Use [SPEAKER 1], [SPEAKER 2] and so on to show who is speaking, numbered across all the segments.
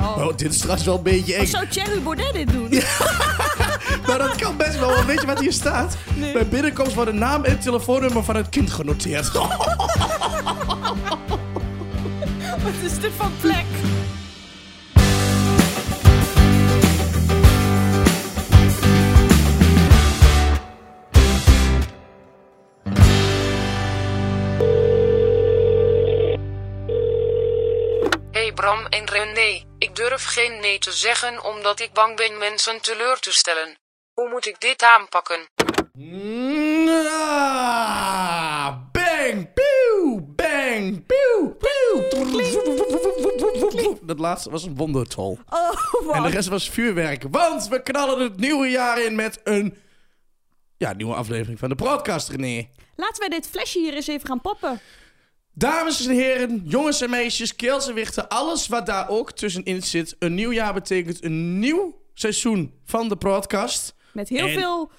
[SPEAKER 1] oh, dit is straks wel een beetje eng.
[SPEAKER 2] Of zou Thierry Baudet dit doen?
[SPEAKER 1] Nou, dat kan best wel, want weet je wat hier staat? Bij binnenkomst worden naam en telefoonnummer van het kind genoteerd.
[SPEAKER 2] Wat is dit van plek?
[SPEAKER 3] Hey Bram en René, ik durf geen nee te zeggen omdat ik bang ben mensen teleur te stellen. Hoe moet ik dit aanpakken?
[SPEAKER 1] Ah, Bang, pew, bang, pew, pew. Dat laatste was een wondertol.
[SPEAKER 2] Oh,
[SPEAKER 1] En de
[SPEAKER 2] man.
[SPEAKER 1] rest was vuurwerk. Want we knallen het nieuwe jaar in met een ja, nieuwe aflevering van de podcast, René.
[SPEAKER 2] Laten wij dit flesje hier eens even gaan poppen.
[SPEAKER 1] Dames en heren, jongens en meisjes, keels en wichten, alles wat daar ook tussenin zit. Een nieuw jaar betekent een nieuw seizoen van de podcast.
[SPEAKER 2] Met heel
[SPEAKER 1] En-
[SPEAKER 2] veel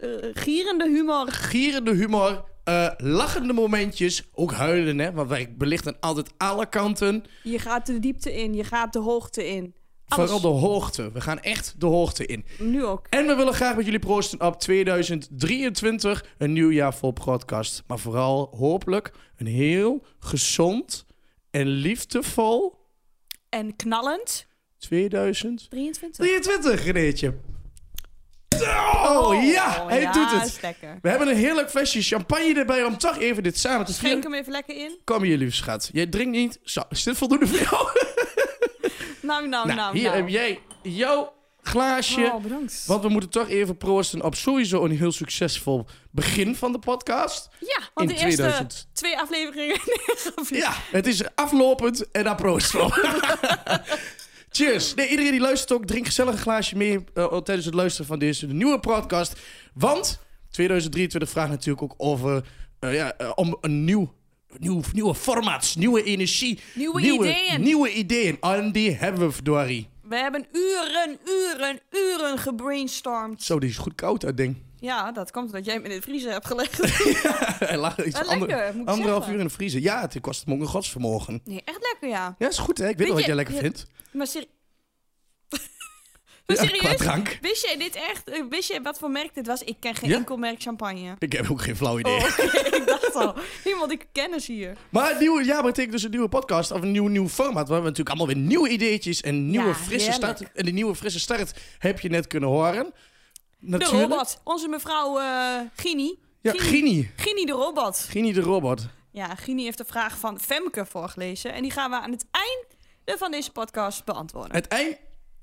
[SPEAKER 2] eh, gierende humor.
[SPEAKER 1] Gierende humor, eh, lachende momentjes, ook huilen, hè, want wij belichten altijd alle kanten.
[SPEAKER 2] Je gaat de diepte in, je gaat de hoogte in. Alles.
[SPEAKER 1] Vooral de hoogte. We gaan echt de hoogte in.
[SPEAKER 2] Nu ook.
[SPEAKER 1] En we willen graag met jullie proosten op 2023. Een nieuw jaar vol podcast. Maar vooral hopelijk een heel gezond en liefdevol
[SPEAKER 2] En knallend.
[SPEAKER 1] 2023,
[SPEAKER 2] 23.
[SPEAKER 1] Renéetje. Oh ja, hij
[SPEAKER 2] ja,
[SPEAKER 1] doet
[SPEAKER 2] is
[SPEAKER 1] het.
[SPEAKER 2] lekker.
[SPEAKER 1] We hebben een heerlijk flesje champagne erbij om toch even dit samen te
[SPEAKER 2] Schenk
[SPEAKER 1] vieren.
[SPEAKER 2] hem even lekker in.
[SPEAKER 1] Kom hier, lieve schat. Jij drinkt niet. Zo, is dit voldoende voor jou?
[SPEAKER 2] Nou, nou, nou.
[SPEAKER 1] nou, hier
[SPEAKER 2] nou.
[SPEAKER 1] heb jij jouw glaasje.
[SPEAKER 2] Oh, bedankt.
[SPEAKER 1] Want we moeten toch even proosten op sowieso een heel succesvol begin van de podcast.
[SPEAKER 2] Ja, want
[SPEAKER 1] in
[SPEAKER 2] de eerste
[SPEAKER 1] 2000.
[SPEAKER 2] twee afleveringen. Nee,
[SPEAKER 1] Ja, het is aflopend en daar proost voor. Cheers. Nee, iedereen die luistert ook, drink gezellig een glaasje mee eh, tijdens het luisteren van deze nieuwe podcast. Want 2023 vraagt natuurlijk ook over, eh, ja, eh, om een nieuw, nieuw, nieuwe formats, nieuwe energie.
[SPEAKER 2] Nieuwe ideeën.
[SPEAKER 1] Nieuwe ideeën. En die hebben we, verdorie.
[SPEAKER 2] We hebben uren, uren, uren gebrainstormd.
[SPEAKER 1] Zo, die is goed koud, dat ding.
[SPEAKER 2] Ja, dat komt omdat jij hem in het vriezer hebt gelegd.
[SPEAKER 1] Hij lag iets
[SPEAKER 2] lekker,
[SPEAKER 1] ander-
[SPEAKER 2] moet ik
[SPEAKER 1] anderhalf
[SPEAKER 2] zeggen.
[SPEAKER 1] uur in de vriezer. Ja, het kost hem ook een godsvermogen.
[SPEAKER 2] Nee, echt lekker, ja.
[SPEAKER 1] Ja, is goed hè. Ik weet, wel
[SPEAKER 2] je-
[SPEAKER 1] wat jij lekker
[SPEAKER 2] je-
[SPEAKER 1] vindt.
[SPEAKER 2] Maar, seri-
[SPEAKER 1] Ja,
[SPEAKER 2] maar serieus?
[SPEAKER 1] qua drank.
[SPEAKER 2] Wist jij dit echt? Eh, Wist jij wat voor merk dit was? Ik ken geen
[SPEAKER 1] Ja?
[SPEAKER 2] enkel merk champagne. Oh,
[SPEAKER 1] Ik heb ook geen flauw idee.
[SPEAKER 2] ik dacht al. Niemand ik kennis hier.
[SPEAKER 1] Maar het nieuwe jaar betekent dus een nieuwe podcast of een nieuw, nieuw format. Waar we natuurlijk allemaal weer nieuwe ideetjes en nieuwe
[SPEAKER 2] Ja,
[SPEAKER 1] frisse
[SPEAKER 2] heerlijk.
[SPEAKER 1] start. En die nieuwe frisse start heb je net kunnen horen.
[SPEAKER 2] De
[SPEAKER 1] Natuurlijk.
[SPEAKER 2] robot. Onze mevrouw eh Gini.
[SPEAKER 1] Ja,
[SPEAKER 2] Gini.
[SPEAKER 1] Gini.
[SPEAKER 2] Gini de robot.
[SPEAKER 1] Gini de robot.
[SPEAKER 2] Ja, Gini heeft de vraag van Femke voorgelezen. En die gaan we aan het einde van deze podcast beantwoorden.
[SPEAKER 1] Het einde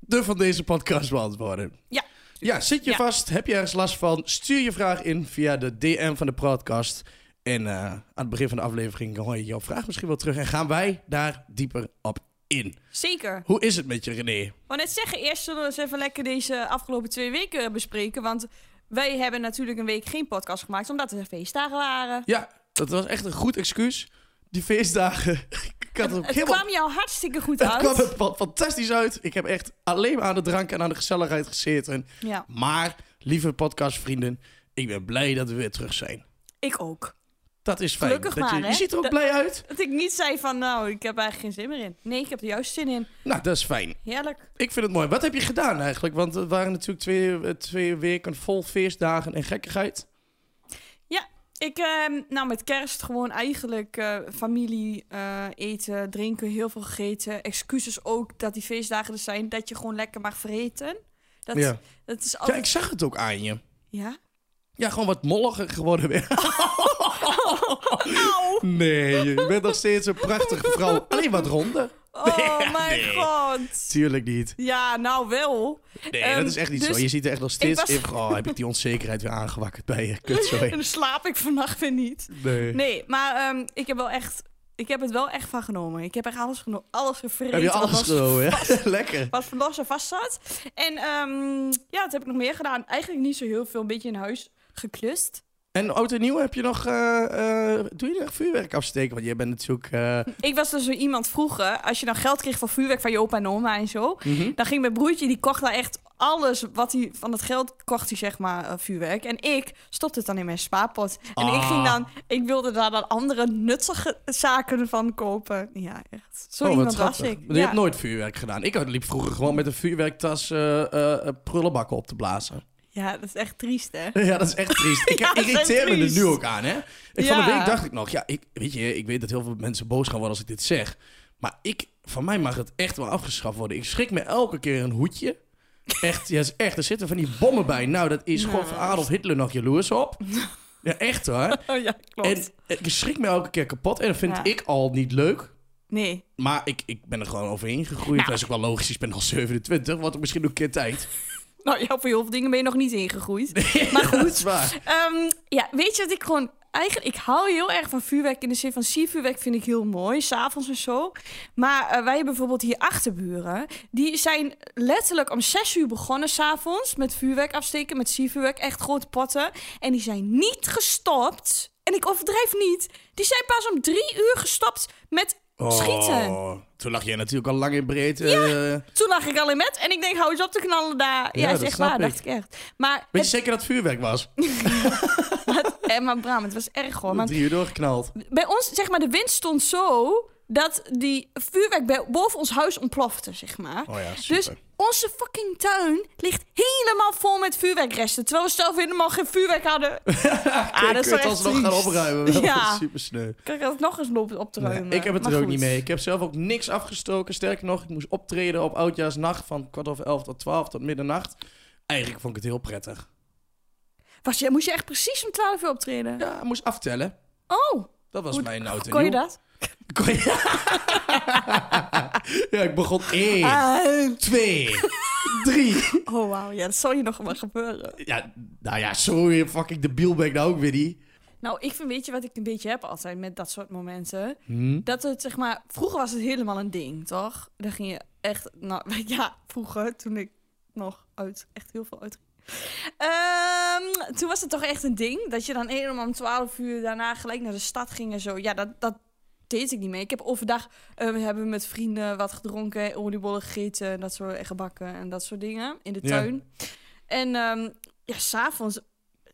[SPEAKER 1] van deze podcast beantwoorden.
[SPEAKER 2] Ja.
[SPEAKER 1] Ja, zit je
[SPEAKER 2] Ja.
[SPEAKER 1] vast? Heb je ergens last van? Stuur je vraag in via de DM van de podcast. En eh, aan het begin van de aflevering hoor je jouw vraag misschien wel terug. En gaan wij daar dieper op in.
[SPEAKER 2] Zeker.
[SPEAKER 1] Hoe is het met je, René?
[SPEAKER 2] Ik wou net zeggen, eerst zullen we eens even lekker deze afgelopen twee weken bespreken. Want wij hebben natuurlijk een week geen podcast gemaakt, omdat er feestdagen waren.
[SPEAKER 1] Ja, dat was echt een goed excuus. Die feestdagen. Ik had er ook
[SPEAKER 2] Het
[SPEAKER 1] helemaal...
[SPEAKER 2] kwam jou hartstikke goed
[SPEAKER 1] Het
[SPEAKER 2] uit.
[SPEAKER 1] kwam er fa- fantastisch uit. Ik heb echt alleen maar aan de drank en aan de gezelligheid gezeten.
[SPEAKER 2] Ja,
[SPEAKER 1] Maar, lieve podcastvrienden, ik ben blij dat we weer terug zijn.
[SPEAKER 2] ik ook.
[SPEAKER 1] Dat is fijn.
[SPEAKER 2] Gelukkig
[SPEAKER 1] dat je,
[SPEAKER 2] maar,
[SPEAKER 1] je
[SPEAKER 2] hè?
[SPEAKER 1] ziet er ook
[SPEAKER 2] Dat-
[SPEAKER 1] blij uit.
[SPEAKER 2] Dat ik niet zei van, nou, ik heb eigenlijk geen zin meer in. Nee, ik heb er juist zin in.
[SPEAKER 1] Nou, dat is fijn.
[SPEAKER 2] Heerlijk.
[SPEAKER 1] Ik vind het mooi. Wat heb je gedaan eigenlijk? Want het waren natuurlijk twee, eh, twee weken vol feestdagen en gekkigheid.
[SPEAKER 2] Ik, ehm, nou, met kerst gewoon eigenlijk eh, familie eh, eten, drinken, heel veel gegeten. Excuses ook dat die feestdagen er zijn, dat je gewoon lekker mag vereten. Dat,
[SPEAKER 1] ja.
[SPEAKER 2] dat is
[SPEAKER 1] ja,
[SPEAKER 2] altijd...
[SPEAKER 1] ik zag het ook aan je.
[SPEAKER 2] Ja?
[SPEAKER 1] Ja, gewoon wat molliger geworden weer.
[SPEAKER 2] Au!
[SPEAKER 1] Nee, je bent nog steeds een prachtige vrouw. Alleen wat ronder.
[SPEAKER 2] Oh mijn
[SPEAKER 1] Nee.
[SPEAKER 2] god.
[SPEAKER 1] Tuurlijk niet.
[SPEAKER 2] Ja, nou wel.
[SPEAKER 1] Nee,
[SPEAKER 2] Ehm,
[SPEAKER 1] dat is echt niet
[SPEAKER 2] dus
[SPEAKER 1] zo. Je ziet er echt nog steeds
[SPEAKER 2] was-
[SPEAKER 1] in. Oh, heb ik die onzekerheid weer aangewakkerd bij je? Kut,
[SPEAKER 2] En
[SPEAKER 1] sorry.
[SPEAKER 2] dan slaap ik vannacht weer niet.
[SPEAKER 1] Nee.
[SPEAKER 2] Nee, maar ehm, ik heb wel echt... Ik heb het wel echt van genomen. Ik heb echt alles, geno alles gevreten.
[SPEAKER 1] Heb je
[SPEAKER 2] wat
[SPEAKER 1] alles
[SPEAKER 2] was-
[SPEAKER 1] genomen, hè? Lekker.
[SPEAKER 2] Wat van los en vast zat. En ehm, ja, wat heb ik nog meer gedaan? Eigenlijk niet zo heel veel. Een beetje in huis geklust.
[SPEAKER 1] En oud en nieuw heb je nog... eh, eh, doe je nog vuurwerk afsteken? Want jij bent natuurlijk... eh,
[SPEAKER 2] Ik was dus zo
[SPEAKER 1] Mhm.
[SPEAKER 2] iemand vroeger. Als je dan geld kreeg voor vuurwerk van je opa en oma en zo. Dan ging mijn broertje, die kocht daar echt alles wat hij van het geld kocht, hij zeg maar eh, vuurwerk. En ik stopte het dan in mijn spaarpot. En ik ging
[SPEAKER 1] Ah.
[SPEAKER 2] dan, ik wilde daar dan andere nuttige zaken van kopen. Ja, echt. Zo
[SPEAKER 1] Oh, wat
[SPEAKER 2] iemand was
[SPEAKER 1] grappig.
[SPEAKER 2] ik.
[SPEAKER 1] Je
[SPEAKER 2] ja.
[SPEAKER 1] hebt nooit vuurwerk gedaan. Ik liep vroeger gewoon met een vuurwerktas eh, eh, eh, prullenbakken op te blazen.
[SPEAKER 2] ja, dat is echt triest, hè?
[SPEAKER 1] Ja, dat is echt triest. Ik
[SPEAKER 2] Ja, dat is
[SPEAKER 1] irriteer me er
[SPEAKER 2] triest.
[SPEAKER 1] nu ook aan, hè? Ik Van de
[SPEAKER 2] Ja.
[SPEAKER 1] week dacht ik nog, ja, ik, weet je, ik weet dat heel veel mensen boos gaan worden als ik dit zeg. Maar ik, van mij mag het echt wel afgeschaft worden. Ik schrik me elke keer een hoedje. Echt, ja, is echt, er zitten van die bommen bij. Nou, dat is gewoon van Adolf Hitler nog jaloers op. Ja, echt hoor.
[SPEAKER 2] Oh ja, klopt.
[SPEAKER 1] En eh, ik schrik me elke keer kapot. En dat vind
[SPEAKER 2] Ja.
[SPEAKER 1] ik al niet leuk.
[SPEAKER 2] Nee.
[SPEAKER 1] Maar ik, ik ben er gewoon overheen gegroeid. Dat is ook wel logisch. Ik ben al 27, wat misschien nog een keer tijd.
[SPEAKER 2] Nou, ja, voor heel veel dingen ben je nog niet ingegroeid.
[SPEAKER 1] Maar goed. dat is waar.
[SPEAKER 2] Ehm, ja, weet je wat ik gewoon... Eigenlijk, ik hou heel erg van vuurwerk in de zin van siervuurwerk vind ik heel mooi, s'avonds en zo. Maar eh, wij hebben bijvoorbeeld hier achterburen. Die zijn letterlijk om zes uur begonnen s'avonds met vuurwerk afsteken, met siervuurwerk, echt grote potten. En die zijn niet gestopt. En ik overdrijf niet. Die zijn pas om drie uur gestopt met schieten.
[SPEAKER 1] Oh, toen lag jij natuurlijk al lang in breed. eh,
[SPEAKER 2] Toen lag ik al in bed en ik denk, hou eens op te knallen daar. Ja,
[SPEAKER 1] Ja,
[SPEAKER 2] is
[SPEAKER 1] dat
[SPEAKER 2] echt
[SPEAKER 1] snap
[SPEAKER 2] waar,
[SPEAKER 1] ik.
[SPEAKER 2] dacht ik echt. Maar,
[SPEAKER 1] weet je zeker dat het vuurwerk was?
[SPEAKER 2] eh, maar Bram, het was erg hoor. want Ah,
[SPEAKER 1] Drie uur doorgeknald.
[SPEAKER 2] bij ons, zeg maar, de wind stond zo dat die vuurwerk bij- boven ons huis ontplofte, zeg maar.
[SPEAKER 1] Oh ja, super.
[SPEAKER 2] dus onze fucking tuin ligt helemaal vol met vuurwerkresten. Terwijl we zelf helemaal geen vuurwerk hadden. ah,
[SPEAKER 1] ik
[SPEAKER 2] wel
[SPEAKER 1] het
[SPEAKER 2] echt
[SPEAKER 1] alsnog gaan
[SPEAKER 2] triest.
[SPEAKER 1] opruimen.
[SPEAKER 2] Ja,
[SPEAKER 1] Super sneu.
[SPEAKER 2] kan ik dat nog eens lopen op te ruimen?
[SPEAKER 1] ik heb het
[SPEAKER 2] Maar
[SPEAKER 1] er ook
[SPEAKER 2] goed.
[SPEAKER 1] niet mee. Ik heb zelf ook niks afgestoken. Sterker nog, ik moest optreden op oudjaarsnacht van kwart over elf tot twaalf tot middernacht. Eigenlijk vond ik het heel prettig.
[SPEAKER 2] Was je, moest je echt precies om 12 uur optreden?
[SPEAKER 1] Ja, ik moest aftellen.
[SPEAKER 2] Oh,
[SPEAKER 1] Dat was mijn oud en
[SPEAKER 2] kon je
[SPEAKER 1] nieuw.
[SPEAKER 2] dat?
[SPEAKER 1] Kon je- ja, ik begon één,
[SPEAKER 2] Ah,
[SPEAKER 1] twee, drie.
[SPEAKER 2] oh, wauw. Ja, dat zal je nog maar gebeuren.
[SPEAKER 1] Ja, nou ja, sorry, fucking debiel ben ik nou ook weer niet.
[SPEAKER 2] Nou, ik vind, weet je wat ik een beetje heb altijd met dat soort momenten? Dat het, zeg maar, vroeger was het helemaal een ding, toch? Dan ging je echt, nou, ja, vroeger, toen ik nog uit, echt heel veel uit. Ehm, toen was het toch echt een ding, dat je dan helemaal om 12 uur daarna gelijk naar de stad ging en zo. Ja, dat, dat deed ik niet meer. Ik heb overdag, eh, we hebben met vrienden wat gedronken, oliebollen gegeten en dat soort, en gebakken en dat soort dingen in de
[SPEAKER 1] Ja.
[SPEAKER 2] tuin. En ehm ja, s'avonds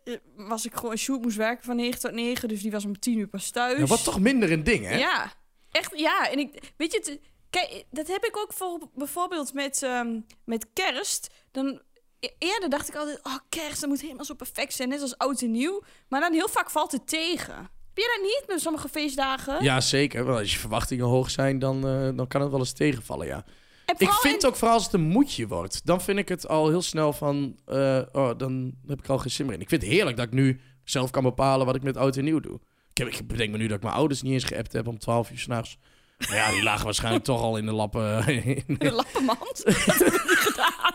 [SPEAKER 2] eh, was ik gewoon, Sjoerd moest werken van 9 tot 9, dus die was om 10 uur pas thuis.
[SPEAKER 1] Ja, wat toch minder een ding, hè?
[SPEAKER 2] Ja, echt, ja. En ik, weet je, het- kijk, dat heb ik ook voor, bijvoorbeeld met, ehm, met kerst. Dan, e- eerder dacht ik altijd, oh kerst, dat moet helemaal zo perfect zijn, net als oud en nieuw. Maar dan heel vaak valt het tegen. Heb je dat niet met sommige feestdagen?
[SPEAKER 1] Ja, zeker. Want als je verwachtingen hoog zijn, dan, eh, dan kan het wel eens tegenvallen, ja.
[SPEAKER 2] En
[SPEAKER 1] Ik
[SPEAKER 2] vooral
[SPEAKER 1] vind ook vooral als het een moedje wordt, dan vind ik het al heel snel van, eh, oh, dan heb ik al geen zin meer in. Ik vind het heerlijk dat ik nu zelf kan bepalen wat ik met oud en nieuw doe. Ik, heb, ik bedenk me nu dat ik mijn ouders niet eens geappt heb om 12 uur s'nachts. Maar ja, die lagen waarschijnlijk toch al in de lappen.
[SPEAKER 2] in de lappenmand. dat heb ik niet gedaan.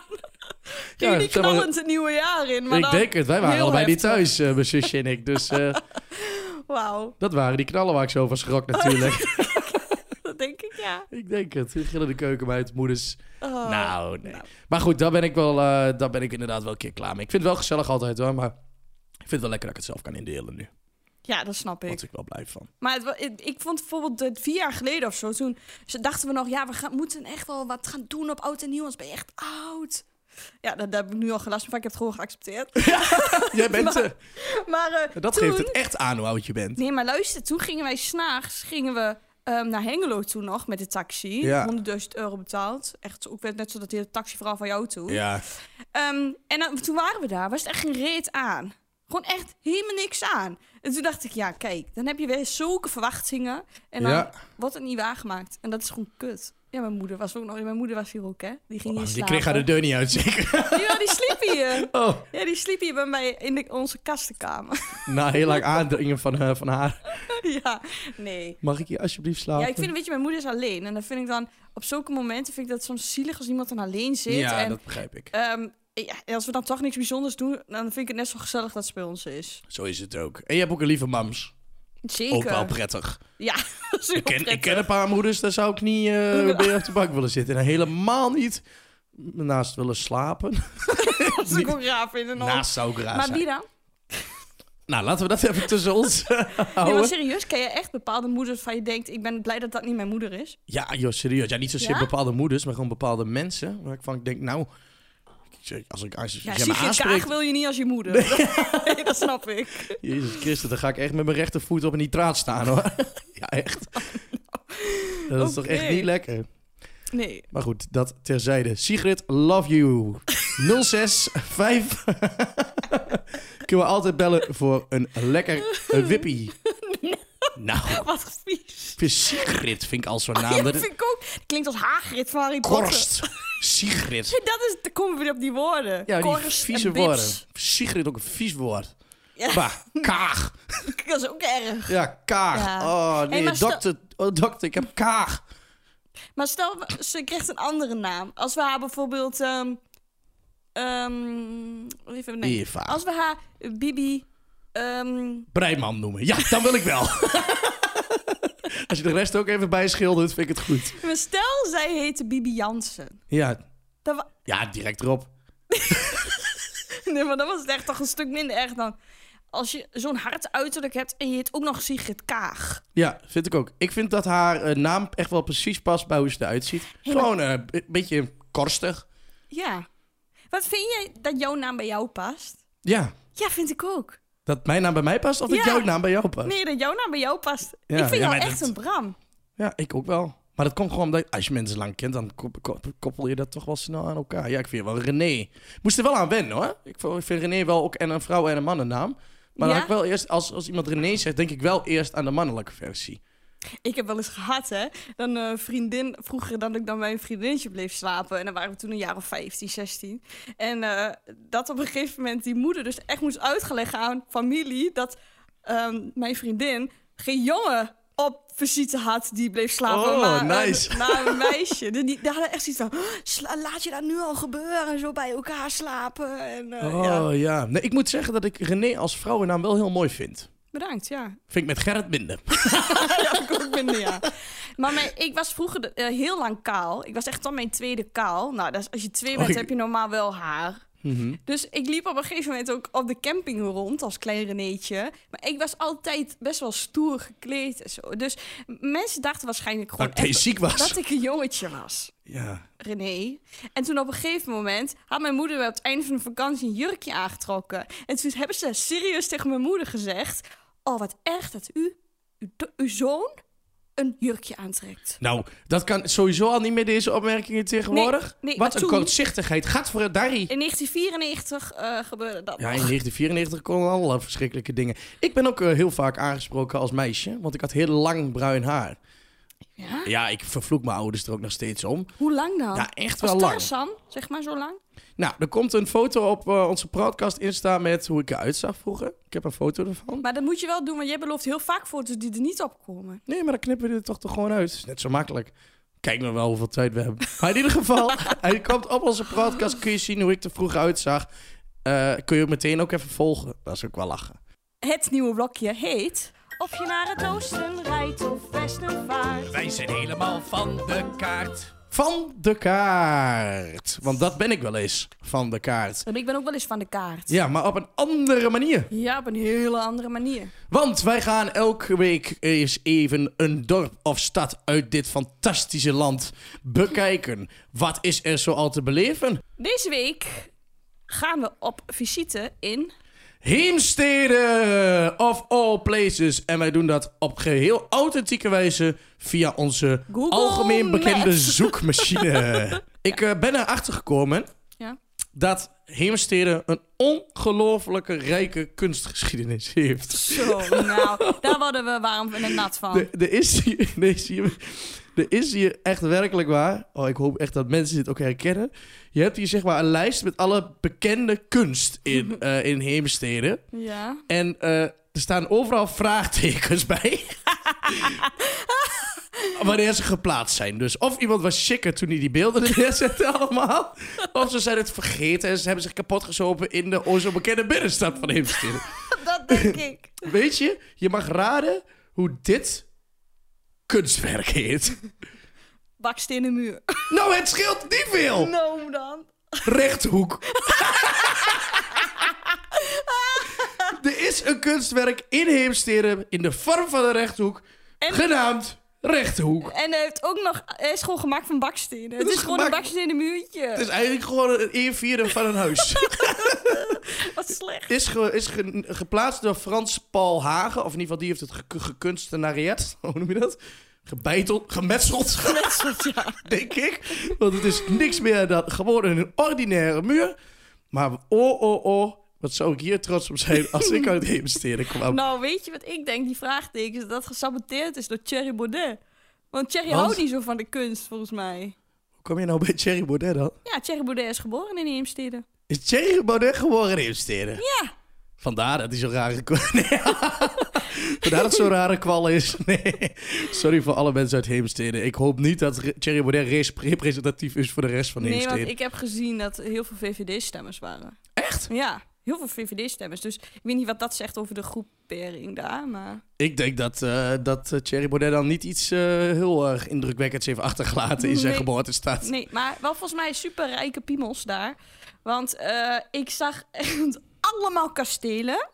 [SPEAKER 2] Ging
[SPEAKER 1] Ja,
[SPEAKER 2] niet
[SPEAKER 1] zeg maar-
[SPEAKER 2] knallend het nieuwe jaar in, maar
[SPEAKER 1] ik
[SPEAKER 2] dan...
[SPEAKER 1] denk het, wij waren
[SPEAKER 2] heel
[SPEAKER 1] allebei niet
[SPEAKER 2] heftig.
[SPEAKER 1] thuis, eh, mijn zusje en ik. Dus eh,
[SPEAKER 2] Wauw,
[SPEAKER 1] dat waren die knallen waar ik zo van schrok natuurlijk.
[SPEAKER 2] dat denk ik, ja.
[SPEAKER 1] Ik denk het. Die gillen de keuken bij het moeders.
[SPEAKER 2] Oh.
[SPEAKER 1] nou, nee.
[SPEAKER 2] nou.
[SPEAKER 1] Maar goed, daar ben ik wel, eh, daar ben ik inderdaad wel een keer klaar mee. Ik vind het wel gezellig altijd hoor, maar ik vind het wel lekker dat ik het zelf kan indelen nu.
[SPEAKER 2] Ja, dat snap ik.
[SPEAKER 1] Word ik wel blij van.
[SPEAKER 2] Maar het, wa- ik, ik vond bijvoorbeeld eh, vier jaar geleden of zo, toen ze- dachten we nog, ja, we gaan, moeten echt wel wat gaan doen op oud en nieuw, anders ben je echt oud. Ja, daar, daar heb ik nu al gelast van, ik heb het gewoon geaccepteerd.
[SPEAKER 1] Jij bent
[SPEAKER 2] Maar-
[SPEAKER 1] eh,
[SPEAKER 2] Maar eh,
[SPEAKER 1] Dat
[SPEAKER 2] toen,
[SPEAKER 1] geeft het echt aan hoe oud je bent.
[SPEAKER 2] Nee, maar luister, toen gingen wij s'nachts gingen we ehm, naar Hengelo toen nog met de taxi.
[SPEAKER 1] Ja.
[SPEAKER 2] 100.000 euro betaald. Echt, ik werd net zo dat hele taxi vooral van jou toe.
[SPEAKER 1] Ja, Oh,
[SPEAKER 2] Ehm, en dan, toen waren we daar, was het echt geen reet aan. Gewoon echt helemaal niks aan. En toen dacht ik, ja, kijk, dan heb je weer zulke verwachtingen. En dan
[SPEAKER 1] Ja.
[SPEAKER 2] wordt het niet waargemaakt. En dat is gewoon kut. Ja, mijn moeder was ook nog. Mijn moeder was hier ook, hè? Die ging hier
[SPEAKER 1] je
[SPEAKER 2] slapen.
[SPEAKER 1] Oh, kreeg haar de deur niet uit zeker.
[SPEAKER 2] Ja, die sliep hier.
[SPEAKER 1] Oh,
[SPEAKER 2] Ja, die sliep hier bij mij in de- onze kastenkamer.
[SPEAKER 1] na heel lang aandringen van, eh, van haar.
[SPEAKER 2] ja, nee.
[SPEAKER 1] Mag ik hier alsjeblieft slapen?
[SPEAKER 2] Ja, ik vind, weet je, mijn moeder is alleen. En dan vind ik dan, op zulke momenten vind ik dat soms zielig als iemand dan alleen zit.
[SPEAKER 1] Ja,
[SPEAKER 2] en,
[SPEAKER 1] dat begrijp ik.
[SPEAKER 2] ehm, ja, en als we dan toch niks bijzonders doen, dan vind ik het net zo gezellig dat ze bij ons is.
[SPEAKER 1] Zo is het ook. En je hebt ook een lieve mams.
[SPEAKER 2] Zeker.
[SPEAKER 1] Ook wel prettig.
[SPEAKER 2] Ja, dat is heel
[SPEAKER 1] Ik ken,
[SPEAKER 2] prettig.
[SPEAKER 1] ik ken een paar moeders, daar zou ik niet eh, bij op de bank willen zitten. En helemaal niet naast willen slapen.
[SPEAKER 2] Dat is ook wel raar vinden. hoor.
[SPEAKER 1] Naast Oh, zou ik raar
[SPEAKER 2] maar
[SPEAKER 1] zijn.
[SPEAKER 2] wie dan?
[SPEAKER 1] Nou, laten we dat even tussen ons eh,
[SPEAKER 2] Nee,
[SPEAKER 1] houden.
[SPEAKER 2] maar serieus, ken je echt bepaalde moeders van je denkt... ik ben blij dat dat niet mijn moeder is?
[SPEAKER 1] Ja, joh, serieus. Ja, niet zozeer
[SPEAKER 2] Ja?
[SPEAKER 1] bepaalde moeders, maar gewoon bepaalde mensen. Waarvan ik denk, nou, ik ik- als ik, als je
[SPEAKER 2] Ja,
[SPEAKER 1] als jij me
[SPEAKER 2] Sigrid
[SPEAKER 1] aanspreekt,
[SPEAKER 2] Kaag wil je niet als je moeder. Nee, dat snap ik.
[SPEAKER 1] Jezus Christus, dan ga ik echt met mijn rechtervoet op een nitraat staan hoor. ja, echt. Dat is toch echt
[SPEAKER 2] Oké.
[SPEAKER 1] niet lekker.
[SPEAKER 2] Nee.
[SPEAKER 1] Maar goed, dat terzijde. Sigrid, love you. 065. Kunnen we altijd bellen voor een lekker eh, wippie. Nou,
[SPEAKER 2] Wat vies.
[SPEAKER 1] voor Sigrid vind ik al zo'n
[SPEAKER 2] Ja,
[SPEAKER 1] naam.
[SPEAKER 2] dat
[SPEAKER 1] Dat
[SPEAKER 2] vind
[SPEAKER 1] is
[SPEAKER 2] ik ook. Dat klinkt als Hagrid van Harry Potter.
[SPEAKER 1] Nou, korst. Sigrid.
[SPEAKER 2] Dat is, dan komen we weer op die woorden.
[SPEAKER 1] Ja, die
[SPEAKER 2] Korst
[SPEAKER 1] vieze
[SPEAKER 2] en bits.
[SPEAKER 1] woorden. Sigrid ook een vies woord.
[SPEAKER 2] Ja.
[SPEAKER 1] Bah, kaag.
[SPEAKER 2] Dat is ook erg.
[SPEAKER 1] Ja, kaag.
[SPEAKER 2] Ja.
[SPEAKER 1] Oh
[SPEAKER 2] Hey,
[SPEAKER 1] nee,
[SPEAKER 2] maar stel-
[SPEAKER 1] dokter, oh, dokter, ik heb kaag.
[SPEAKER 2] Maar stel, we- ze krijgt een andere naam. Als we haar bijvoorbeeld... ehm ehm, even, nee.
[SPEAKER 1] Eva.
[SPEAKER 2] Als we haar eh, Bibi... ehm,
[SPEAKER 1] Breiman noemen. Ja, dan wil ik wel. Als je de rest ook even bijschildert, vind ik het goed.
[SPEAKER 2] maar stel, zij heette Bibi Jansen.
[SPEAKER 1] Ja,
[SPEAKER 2] Dat wa-
[SPEAKER 1] ja direct erop.
[SPEAKER 2] nee, maar dat was het echt toch een stuk minder erg dan... Als je zo'n hard uiterlijk hebt en je heet ook nog Sigrid Kaag.
[SPEAKER 1] Ja, vind ik ook. Ik vind dat haar eh, naam echt wel precies past bij hoe ze eruit ziet. Gewoon eh, een beetje korstig.
[SPEAKER 2] Ja. Wat vind jij dat jouw naam bij jou past?
[SPEAKER 1] Ja,
[SPEAKER 2] Ja, vind ik ook.
[SPEAKER 1] dat mijn naam bij mij past of dat
[SPEAKER 2] Ja.
[SPEAKER 1] jouw naam bij jou past.
[SPEAKER 2] Nee, dat jouw naam bij jou past.
[SPEAKER 1] Ja,
[SPEAKER 2] ik vind
[SPEAKER 1] ja,
[SPEAKER 2] jou
[SPEAKER 1] maar
[SPEAKER 2] echt
[SPEAKER 1] dat-
[SPEAKER 2] een Bram.
[SPEAKER 1] Ja, ik ook wel. Maar dat komt gewoon omdat als je mensen lang kent, dan kop- kop- koppel je dat toch wel snel aan elkaar. Ja, ik vind wel René. Moest er wel aan wennen hoor. Ik vo- ik vind René wel ook en een vrouw en een mannennaam. Maar dan
[SPEAKER 2] Ja?
[SPEAKER 1] had ik wel eerst, als, als iemand René zegt, denk ik wel eerst aan de mannelijke versie.
[SPEAKER 2] Ik heb wel eens gehad, hè. Dan eh, vriendin, vroeger dan ik dan bij een vriendinnetje bleef slapen. En dan waren we toen een jaar of 15, 16. En eh, dat op een gegeven moment die moeder dus echt moest uitleggen aan familie... dat ehm, mijn vriendin geen jongen op visite had die bleef slapen.
[SPEAKER 1] Oh,
[SPEAKER 2] maar, een-
[SPEAKER 1] nice.
[SPEAKER 2] maar een meisje. Die, die, die hadden echt zoiets van, "Oh, sla- laat je dat nu al gebeuren? Zo bij elkaar slapen. En, eh,
[SPEAKER 1] Oh ja.
[SPEAKER 2] ja.
[SPEAKER 1] Nee, ik moet zeggen dat ik René als vrouwennaam wel heel mooi vind.
[SPEAKER 2] Bedankt, ja.
[SPEAKER 1] Vind ik met Gerrit minder.
[SPEAKER 2] ja, ik ook minder, ja. Maar mijn- ik was vroeger de- eh, heel lang kaal. Ik was echt dan mijn tweede kaal. Nou, dat is- als je twee bent,
[SPEAKER 1] Oh, Mhm. ik-
[SPEAKER 2] heb je normaal wel haar. Dus ik liep op een gegeven moment ook op de camping rond als klein Renéetje. Maar ik was altijd best wel stoer gekleed en zo. Dus m- mensen dachten waarschijnlijk gewoon
[SPEAKER 1] Dat ik
[SPEAKER 2] echt
[SPEAKER 1] ziek was.
[SPEAKER 2] dat ik een jongetje was.
[SPEAKER 1] Ja.
[SPEAKER 2] René. En toen op een gegeven moment had mijn moeder weer op het einde van de vakantie een jurkje aangetrokken. En toen hebben ze serieus tegen mijn moeder gezegd: Oh, wat erg dat u, uw, do- uw zoon, een jurkje aantrekt.
[SPEAKER 1] Nou, dat kan sowieso al niet meer deze opmerkingen tegenwoordig.
[SPEAKER 2] Nee, nee,
[SPEAKER 1] Wat
[SPEAKER 2] maar
[SPEAKER 1] een
[SPEAKER 2] toen-
[SPEAKER 1] kootzichtigheid. Gaat voor het Darry.
[SPEAKER 2] In 1994 eh, gebeurde dat.
[SPEAKER 1] Ja, in
[SPEAKER 2] nog.
[SPEAKER 1] 1994 konden alle verschrikkelijke dingen. Ik ben ook eh, heel vaak aangesproken als meisje, want ik had heel lang bruin haar.
[SPEAKER 2] Ja?
[SPEAKER 1] Ja, ik vervloek mijn ouders er ook nog steeds om.
[SPEAKER 2] Hoe lang dan?
[SPEAKER 1] Ja, echt
[SPEAKER 2] Als
[SPEAKER 1] wel lang.
[SPEAKER 2] Tarzan, zeg maar zo lang.
[SPEAKER 1] Nou, er komt een foto op eh, onze podcast Insta met hoe ik eruit zag vroeger. Ik heb een foto ervan.
[SPEAKER 2] Maar dat moet je wel doen, want jij belooft heel vaak foto's die er niet op komen.
[SPEAKER 1] Nee, maar dan knippen we er toch, toch gewoon uit. Is net zo makkelijk. Kijk maar wel hoeveel tijd we hebben. Maar in ieder geval, hij komt op onze podcast. Kun je zien hoe ik er vroeger uitzag. Eh, kun je het meteen ook even volgen. Dat is ook wel lachen.
[SPEAKER 2] Het nieuwe blokje heet. Of je naar het oosten rijdt of westen vaart.
[SPEAKER 1] Wij zijn helemaal van de kaart. Van de kaart. Want dat ben ik wel eens, van de kaart.
[SPEAKER 2] Ik ben ook wel eens van de kaart.
[SPEAKER 1] Ja, maar op een andere manier.
[SPEAKER 2] Ja, op een hele andere manier.
[SPEAKER 1] Want wij gaan elke week eens even een dorp of stad uit dit fantastische land bekijken. Wat is er zo al te beleven?
[SPEAKER 2] Deze week gaan we op visite in.
[SPEAKER 1] Heemstede of all places. En wij doen dat op geheel authentieke wijze via onze
[SPEAKER 2] Google
[SPEAKER 1] algemeen bekende
[SPEAKER 2] Maps.
[SPEAKER 1] zoekmachine. Ik eh, ben erachter gekomen
[SPEAKER 2] Ja.
[SPEAKER 1] dat Heemstede een ongelooflijke rijke kunstgeschiedenis heeft.
[SPEAKER 2] Zo, nou, daar worden we warm en nat van.
[SPEAKER 1] Er er is hier, nee, zie je, er is hier echt werkelijk waar. Oh, ik hoop echt dat mensen dit ook herkennen. Je hebt hier zeg maar een lijst met alle bekende kunst in, eh, in Heemstede.
[SPEAKER 2] Ja.
[SPEAKER 1] En eh, er staan overal vraagtekens bij. Wanneer ze geplaatst zijn. Dus of iemand was chicker toen hij die beelden neerzette allemaal. Of ze zijn het vergeten en ze hebben zich kapotgezopen in de o zo bekende binnenstad van Heemstede.
[SPEAKER 2] Dat denk ik.
[SPEAKER 1] Weet je, je mag raden hoe dit kunstwerk heet.
[SPEAKER 2] Bakstenen muur.
[SPEAKER 1] Nou, het scheelt niet veel.
[SPEAKER 2] Nou dan.
[SPEAKER 1] Rechthoek. er is een kunstwerk in Heemstede in de vorm van een rechthoek
[SPEAKER 2] En-
[SPEAKER 1] genaamd rechterhoek.
[SPEAKER 2] En hij, heeft ook nog, hij is gewoon gemaakt van bakstenen. Het
[SPEAKER 1] is
[SPEAKER 2] is, gewoon een
[SPEAKER 1] gemaakt-
[SPEAKER 2] bakstenen muurtje.
[SPEAKER 1] Het is eigenlijk gewoon een eervieren van een huis.
[SPEAKER 2] Wat slecht.
[SPEAKER 1] is ge- is ge- geplaatst door Frans Paul Hagen. Of in ieder geval, die heeft het ge- gekunstenareerd. Hoe noem je dat? Gebeiteld, gemetseld, denk ik. Want het is niks meer dan gewoon een ordinaire muur. Maar oh, oh, oh. Wat zou ik hier trots op zijn als ik uit het investeren kwam.
[SPEAKER 2] Nou, weet je wat ik denk? Die vraagtekens. Dat dat gesaboteerd is door Thierry Baudet. Want Thierry
[SPEAKER 1] Wat?
[SPEAKER 2] houdt niet zo van de kunst, volgens mij.
[SPEAKER 1] Hoe kom je nou bij Thierry Baudet dan?
[SPEAKER 2] Ja, Thierry Baudet is geboren in Heemstede.
[SPEAKER 1] Is Thierry Baudet gewoon een investeren?
[SPEAKER 2] Ja.
[SPEAKER 1] Vandaar dat hij zo'n rare kwal... Nee. Vandaar dat het zo'n rare kwal is. Nee. Sorry voor alle mensen uit Heemstede. Ik hoop niet dat Re- Thierry Baudet res- representatief is voor de rest van
[SPEAKER 2] Nee,
[SPEAKER 1] Heemstede.
[SPEAKER 2] want ik heb gezien dat heel veel VVD-stemmers waren.
[SPEAKER 1] Echt?
[SPEAKER 2] Ja, heel veel VVD-stemmers. Dus ik weet niet wat dat zegt over de groepering daar, maar...
[SPEAKER 1] Ik denk dat, eh, dat eh, Thierry Baudet dan niet iets eh, heel erg indrukwekkends heeft achtergelaten in zijn
[SPEAKER 2] Nee.
[SPEAKER 1] geboortestad.
[SPEAKER 2] Nee, maar wel volgens mij superrijke piemels daar. Want eh, ik zag echt allemaal kastelen.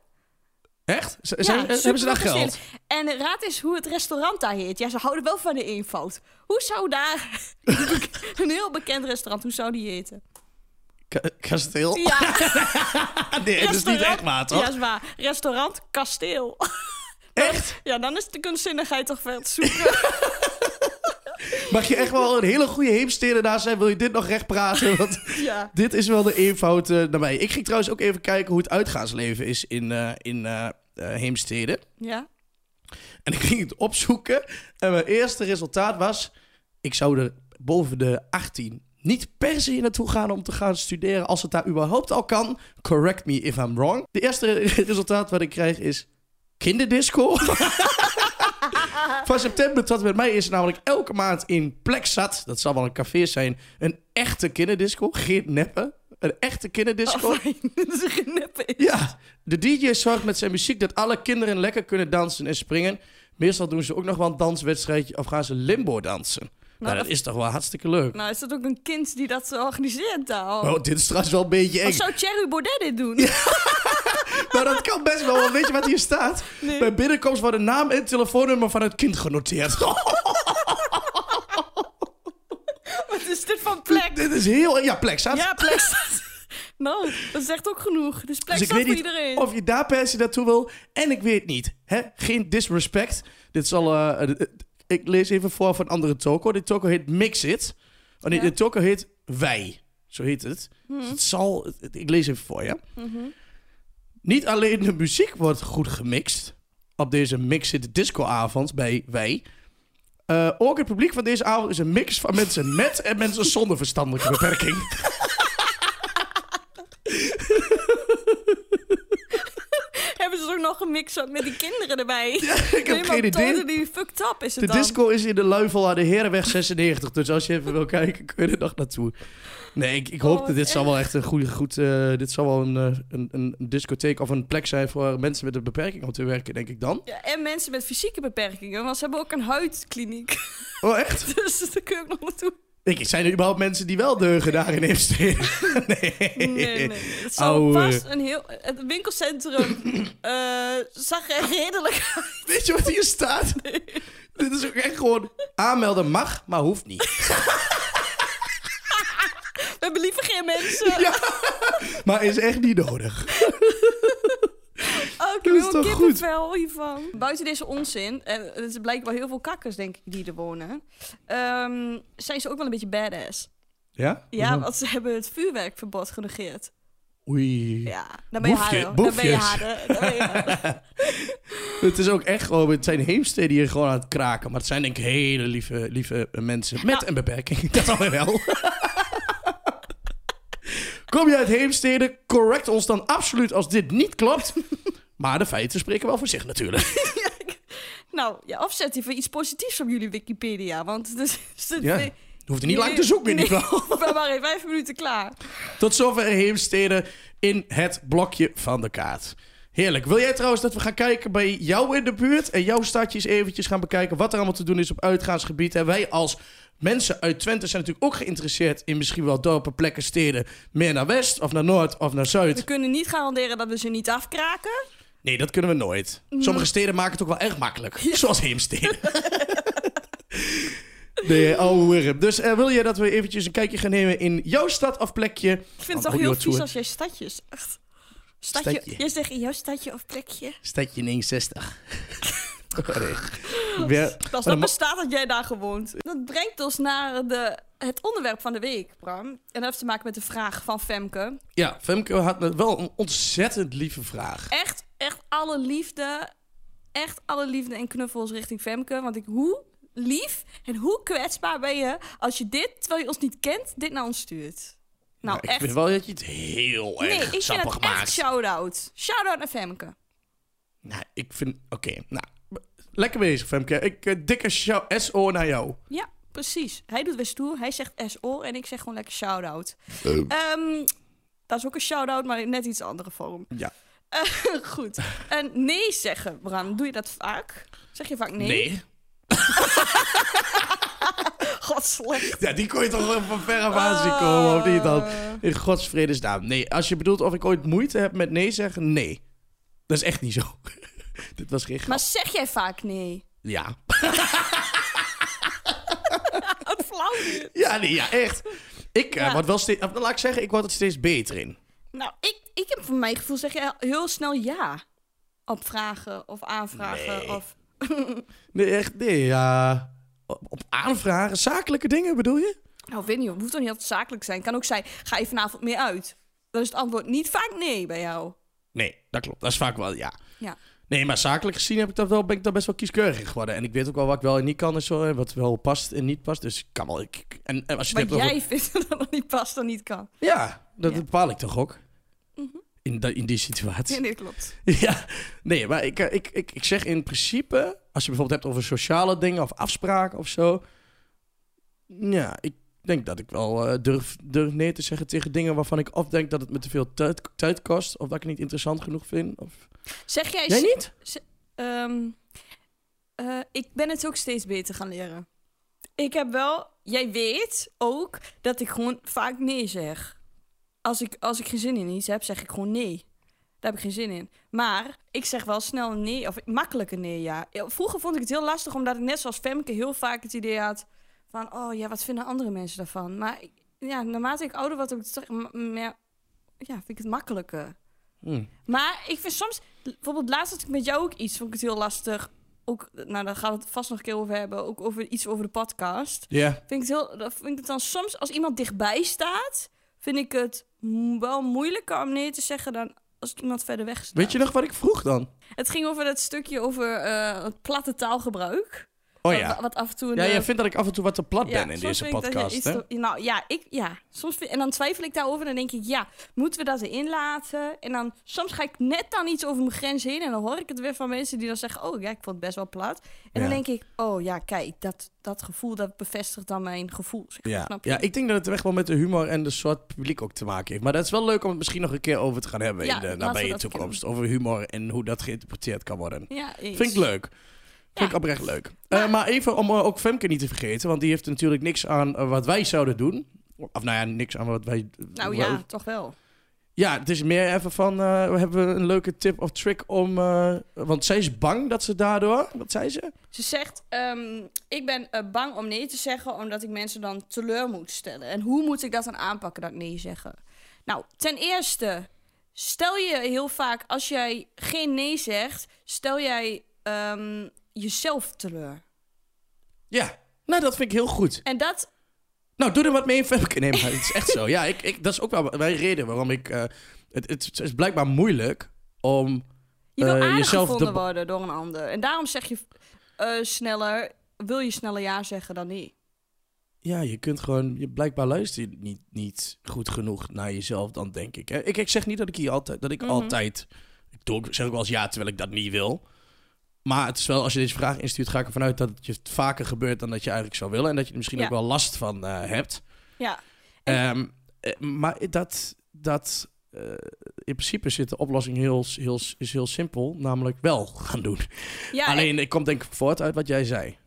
[SPEAKER 1] Echt? Z- zijn- eh,
[SPEAKER 2] Ja,
[SPEAKER 1] hebben ze daar
[SPEAKER 2] superveel
[SPEAKER 1] geld?
[SPEAKER 2] kastelen. En raad eens hoe het restaurant daar heet. Ja, ze houden wel van de eenvoud. Hoe zou daar een heel bekend restaurant, hoe zou die heten?
[SPEAKER 1] Ka- kasteel? Ah,
[SPEAKER 2] Ja,
[SPEAKER 1] nee, het is niet echt waar, toch?
[SPEAKER 2] Ja, is waar. Restaurant Kasteel.
[SPEAKER 1] Echt?
[SPEAKER 2] Ja, dan is de kunstzinnigheid toch wel te zoeken.
[SPEAKER 1] Mag je echt wel een hele goede Heemstede daar zijn? Wil je dit nog recht praten? Want
[SPEAKER 2] ja.
[SPEAKER 1] Dit is wel de eenvoud eh, naar mij. Ik ging trouwens ook even kijken hoe het uitgaansleven is in, eh, in eh, eh, Heemstede.
[SPEAKER 2] ja.
[SPEAKER 1] En ik ging het opzoeken. En mijn eerste resultaat was... Ik zou er boven de 18 niet per se naartoe gaan om te gaan studeren... als het daar überhaupt al kan. Correct me if I'm wrong. De eerste resultaat wat ik krijg is... Kinderdisco. Van september tot en met mei is er namelijk elke maand in Plexat... dat zal wel een café zijn... een echte kinderdisco. Geen neppen. Een echte kinderdisco.
[SPEAKER 2] Oh, fijn. Dat is een genep.
[SPEAKER 1] Ja, de DJ zorgt met zijn muziek dat alle kinderen lekker kunnen dansen en springen. Meestal doen ze ook nog wel een danswedstrijdje of gaan ze limbo dansen. Nou, dat
[SPEAKER 2] dat-
[SPEAKER 1] is toch wel hartstikke leuk.
[SPEAKER 2] Nou, is dat ook een kind die dat zo organiseert daar?
[SPEAKER 1] Oh, dit is trouwens wel een beetje eng.
[SPEAKER 2] Wat zou Thierry Baudet dit doen?
[SPEAKER 1] Maar dat kan best wel, want weet je wat hier staat? Bij binnenkomst worden naam en telefoonnummer van het kind genoteerd.
[SPEAKER 2] Wat is dit voor plek?
[SPEAKER 1] Oh, dit is heel... Ja, plek staat.
[SPEAKER 2] Ja, plek staat. nou, dat zegt ook genoeg. Dus plek
[SPEAKER 1] dus ik
[SPEAKER 2] staat
[SPEAKER 1] weet
[SPEAKER 2] voor
[SPEAKER 1] niet
[SPEAKER 2] iedereen.
[SPEAKER 1] of je daar per se naartoe wil. En ik weet niet. Hè? Geen disrespect. Dit zal... eh, eh, eh, ik lees even voor van een andere toko. Dit toko heet Mixit. Oh nee,
[SPEAKER 2] Ja. Hmm.
[SPEAKER 1] dit toko heet Wij. Zo heet het. Dus het zal... het- Ik lees even voor, ja.
[SPEAKER 2] Mhm.
[SPEAKER 1] Niet alleen de muziek wordt goed gemixt... op deze Mixit discoavond bij Wij... Eh, ook het publiek van deze avond is een mix van mensen met en mensen zonder verstandelijke beperking.
[SPEAKER 2] Hebben ze het ook nog gemixt met die kinderen erbij?
[SPEAKER 1] ik heb geen idee.
[SPEAKER 2] die fucked up is het
[SPEAKER 1] De
[SPEAKER 2] dan.
[SPEAKER 1] disco is in de Luifel aan de Herenweg 96. Dus als je even wil kijken, kun je er nog naartoe. Nee, ik, ik hoop
[SPEAKER 2] Oh,
[SPEAKER 1] dat dit
[SPEAKER 2] wat
[SPEAKER 1] zal wel echt een goede... Goed, eh, dit zal wel een, eh, een, een discotheek of een plek zijn voor mensen met een beperking om te werken, denk ik dan.
[SPEAKER 2] Ja, en mensen met fysieke beperkingen, want ze hebben ook een huidkliniek.
[SPEAKER 1] Oh, echt?
[SPEAKER 2] dus daar kun je ook nog naartoe.
[SPEAKER 1] Ik, zijn er überhaupt mensen die wel deugen daar in Heemstede? Nee.
[SPEAKER 2] Nee, nee. Het zou
[SPEAKER 1] Ouwe.
[SPEAKER 2] vast een heel... Het winkelcentrum eh, zag er redelijk uit.
[SPEAKER 1] Weet je wat hier staat? Dit is ook echt gewoon... Aanmelden mag, maar hoeft niet.
[SPEAKER 2] We hebben liever geen mensen.
[SPEAKER 1] Maar is echt niet nodig.
[SPEAKER 2] Oh,
[SPEAKER 1] Dat
[SPEAKER 2] ik heb
[SPEAKER 1] is
[SPEAKER 2] helemaal
[SPEAKER 1] toch goed?
[SPEAKER 2] kippenvel hiervan. Buiten deze onzin, en het is blijkbaar heel veel kakkers, denk ik, die er wonen. ehm, zijn ze ook wel een beetje badass.
[SPEAKER 1] Ja?
[SPEAKER 2] Ja, want ze hebben het vuurwerkverbod genegeerd.
[SPEAKER 1] Oei.
[SPEAKER 2] Ja, dan ben je
[SPEAKER 1] Boefje-
[SPEAKER 2] harder. Dan ben je
[SPEAKER 1] boefjes.
[SPEAKER 2] harder. Dan ben je harder.
[SPEAKER 1] Het is ook echt gewoon, het zijn heemsteden hier gewoon aan het kraken. Maar het zijn denk ik hele lieve, lieve mensen met een beperking. Dat alweer wel. Kom je uit heemsteden, correct ons dan absoluut als dit niet klopt. Maar de feiten spreken wel voor zich natuurlijk.
[SPEAKER 2] nou, ja, afzet even iets positiefs op jullie Wikipedia, want het is... is het-
[SPEAKER 1] Ja.
[SPEAKER 2] nee,
[SPEAKER 1] Je hoeft er niet lang te zoeken in ieder
[SPEAKER 2] nee,
[SPEAKER 1] geval.
[SPEAKER 2] we waren maar vijf minuten klaar.
[SPEAKER 1] Tot zover heemsteden in het blokje van de kaart. Heerlijk. Wil jij trouwens dat we gaan kijken bij jou in de buurt en jouw stadjes eventjes gaan bekijken wat er allemaal te doen is op uitgaansgebied? En wij als mensen uit Twente zijn natuurlijk ook geïnteresseerd in misschien wel dorpen, plekken, steden, meer naar west of naar noord of naar
[SPEAKER 2] We
[SPEAKER 1] zuid.
[SPEAKER 2] kunnen niet garanderen dat we ze niet afkraken.
[SPEAKER 1] Nee, dat kunnen we nooit. Sommige steden maken het ook wel echt makkelijk, zoals Heemstede. Nee, ouwe wurp. Dus eh, wil je dat we eventjes een kijkje gaan nemen in jouw stad of plekje?
[SPEAKER 2] Ik vind
[SPEAKER 1] Oh,
[SPEAKER 2] het
[SPEAKER 1] oh,
[SPEAKER 2] toch heel
[SPEAKER 1] joh,
[SPEAKER 2] vies
[SPEAKER 1] toe.
[SPEAKER 2] als jij stadjes. Echt. Stadje.
[SPEAKER 1] Stadje.
[SPEAKER 2] Jij zegt in jouw stadje of plekje.
[SPEAKER 1] Stadje 69. nee. Weer-
[SPEAKER 2] Als
[SPEAKER 1] Maar
[SPEAKER 2] dat
[SPEAKER 1] dan
[SPEAKER 2] bestaat dat jij daar gewoond. Dat brengt ons naar de, het onderwerp van de week, Bram. En dat heeft te maken met de vraag van Femke.
[SPEAKER 1] ma- Ja, Femke had me wel een ontzettend lieve vraag.
[SPEAKER 2] Echt, echt alle liefde. Echt alle liefde en knuffels richting Femke. Want ik, hoe lief en hoe kwetsbaar ben je als je dit, terwijl je ons niet kent, dit naar ons stuurt. Nou,
[SPEAKER 1] Maar Ik
[SPEAKER 2] echt.
[SPEAKER 1] vind wel dat je het heel
[SPEAKER 2] Nee,
[SPEAKER 1] erg
[SPEAKER 2] ik vind
[SPEAKER 1] sappig
[SPEAKER 2] het echt
[SPEAKER 1] maakt.
[SPEAKER 2] shout-out. Shout-out naar Femke.
[SPEAKER 1] Nou, ik vind... Oké, nou... Lekker bezig, Femke. Ik eh, dikke shout- SO naar jou.
[SPEAKER 2] Ja, precies. Hij doet weer stoer. Hij zegt SO en ik zeg gewoon lekker shout-out. Ehm, dat is ook een shout-out, maar in net iets andere vorm.
[SPEAKER 1] Ja.
[SPEAKER 2] Eh, goed. En nee zeggen, Bram. Doe je dat vaak? Zeg je vaak nee? God, slecht.
[SPEAKER 1] Ja, die kon je toch wel van verre af aan
[SPEAKER 2] Oh.
[SPEAKER 1] zien komen, of niet dan? In godsvredesnaam. Nee, als je bedoelt of ik ooit moeite heb met nee zeggen, nee. Dat is echt niet zo. Dit was geen grap.
[SPEAKER 2] Maar zeg jij vaak nee?
[SPEAKER 1] Ja.
[SPEAKER 2] Wat flauw nu.
[SPEAKER 1] Ja, nee, ja, echt. Ik eh,
[SPEAKER 2] Ja.
[SPEAKER 1] word wel steeds... of, Laat ik zeggen, ik word er steeds beter in.
[SPEAKER 2] Nou, ik, ik heb van mijn gevoel zeg jij heel snel ja. Op vragen of aanvragen
[SPEAKER 1] Nee.
[SPEAKER 2] of...
[SPEAKER 1] Nee, echt, nee, ja... Op, op aanvragen, zakelijke dingen bedoel je?
[SPEAKER 2] Nou, weet niet, hoor. het hoeft toch niet altijd zakelijk te zijn. kan ook zijn, ga je vanavond meer uit? Dan is het antwoord niet vaak nee bij jou.
[SPEAKER 1] Nee, dat klopt. Dat is vaak wel, ja.
[SPEAKER 2] Ja.
[SPEAKER 1] Nee, maar zakelijk gezien heb ik dat wel, ben ik daar best wel kieskeurig in geworden. En ik weet ook wel wat ik wel en niet kan en zo. En wat wel past en niet past. Dus ik kan wel... Ik, en, en als je het
[SPEAKER 2] Wat
[SPEAKER 1] hebt over-
[SPEAKER 2] jij vindt dat dat niet past dan niet kan.
[SPEAKER 1] Ja, dat
[SPEAKER 2] Ja. Mhm.
[SPEAKER 1] bepaal ik toch ook. In, da- in die situatie.
[SPEAKER 2] Nee, nee, klopt.
[SPEAKER 1] Ja, nee, maar ik, eh, ik, ik, ik zeg in principe, als je bijvoorbeeld hebt over sociale dingen of afspraken of zo. Ja, ik denk dat ik wel eh, durf, durf nee te zeggen tegen dingen waarvan ik of denk dat het me te veel tijd, tijd kost. Of dat ik het niet interessant genoeg vind. Of...
[SPEAKER 2] Zeg jij...
[SPEAKER 1] Jij niet?
[SPEAKER 2] Ehm, eh, ik ben het ook steeds beter gaan leren. Ik heb wel, jij weet ook dat ik gewoon vaak nee zeg. Als ik, als ik geen zin in iets heb, zeg ik gewoon nee. Daar heb ik geen zin in. Maar ik zeg wel snel een nee, of makkelijker nee, ja. Vroeger vond ik het heel lastig, omdat ik net zoals Femke heel vaak het idee had van, oh ja, wat vinden andere mensen daarvan? Maar ik- ja, naarmate ik ouder word, heb ik het toch m- meer- ja, vind ik het makkelijker.
[SPEAKER 1] Hm.
[SPEAKER 2] Maar ik vind soms, bijvoorbeeld laatst had ik met jou ook iets, vond ik het heel lastig. Ook, nou, daar gaan we het vast nog een keer over hebben. Ook over iets over de podcast.
[SPEAKER 1] Ja.
[SPEAKER 2] Vind ik het heel, dat vind ik het dan soms, als iemand dichtbij staat, vind ik het m- wel moeilijker om nee te zeggen dan als iemand verder weg staat.
[SPEAKER 1] Weet je nog wat ik vroeg dan?
[SPEAKER 2] Het ging over dat stukje over eh, het platte taalgebruik.
[SPEAKER 1] Oh
[SPEAKER 2] Wat-
[SPEAKER 1] ja.
[SPEAKER 2] Wat af en toe. een,
[SPEAKER 1] Ja,
[SPEAKER 2] eh,
[SPEAKER 1] jij vindt dat ik af en toe wat te plat ben in
[SPEAKER 2] soms
[SPEAKER 1] deze
[SPEAKER 2] vind ik dat je
[SPEAKER 1] podcast,
[SPEAKER 2] iets
[SPEAKER 1] hè?
[SPEAKER 2] te- nou ja, ik, ja. Soms vind- en dan twijfel ik daarover. Dan denk ik, ja, moeten we dat erin laten? En dan soms ga ik net dan iets over mijn grens heen. En dan hoor ik het weer van mensen die dan zeggen, oh ja, ik vond het best wel plat. En
[SPEAKER 1] Ja.
[SPEAKER 2] dan denk ik, oh ja, kijk, dat, dat gevoel, dat bevestigt dan mijn gevoel. Zeg maar,
[SPEAKER 1] Ja.
[SPEAKER 2] snap je?
[SPEAKER 1] ja, ik denk dat het echt wel met de humor en de soort publiek ook te maken heeft. Maar dat is wel leuk om het misschien nog een keer over te gaan hebben
[SPEAKER 2] Ja,
[SPEAKER 1] in de
[SPEAKER 2] laten we
[SPEAKER 1] nabije
[SPEAKER 2] dat
[SPEAKER 1] toekomst. Over humor en hoe dat geïnterpreteerd kan worden.
[SPEAKER 2] Ja, eens.
[SPEAKER 1] Vind ik leuk. Vind ik oprecht leuk. Eh, maar even om eh, ook Femke niet te vergeten, want die heeft natuurlijk niks aan eh, wat wij zouden doen. Of nou ja, niks aan wat wij...
[SPEAKER 2] Nou ja, toch wel.
[SPEAKER 1] Ja, het is meer even van, eh, hebben we een leuke tip of trick om... eh, want zij is bang dat ze daardoor... Wat zei ze?
[SPEAKER 2] Ze zegt, ehm, ik ben eh, bang om nee te zeggen omdat ik mensen dan teleur moet stellen. En hoe moet ik dat dan aanpakken, dat nee zeggen? Nou, ten eerste, stel je heel vaak als jij geen nee zegt, stel jij ehm, jezelf teleur.
[SPEAKER 1] Ja, nou dat vind ik heel goed.
[SPEAKER 2] En dat,
[SPEAKER 1] Nou, doe er wat mee, Femke. Nee, maar het is echt zo. Ja, ik, ik, dat is ook wel mijn reden waarom ik... eh, het, het is blijkbaar moeilijk om...
[SPEAKER 2] je wil
[SPEAKER 1] eh,
[SPEAKER 2] aardig
[SPEAKER 1] jezelf de
[SPEAKER 2] gevonden
[SPEAKER 1] ba-
[SPEAKER 2] worden door een ander. En daarom zeg je eh, sneller, wil je sneller ja zeggen dan nee.
[SPEAKER 1] Ja, je kunt gewoon, je blijkbaar luister je niet, niet goed genoeg naar jezelf dan, denk ik. Hè? Ik, ik zeg niet dat ik hier altijd, dat ik altijd, ik doe, ook- zeg ook wel eens ja, terwijl ik dat niet wil. Maar het is wel, als je deze vraag instuurt, ga ik ervan uit dat het je vaker gebeurt dan dat je eigenlijk zou willen. En dat je er misschien
[SPEAKER 2] Ja.
[SPEAKER 1] ook wel last van eh, hebt.
[SPEAKER 2] Ja,
[SPEAKER 1] Ehm, eh, maar dat, dat eh, in principe zit de oplossing heel, s- heel, s- is heel simpel, namelijk wel gaan doen.
[SPEAKER 2] ja en-
[SPEAKER 1] Alleen, ik kom denk ik voort uit wat jij zei.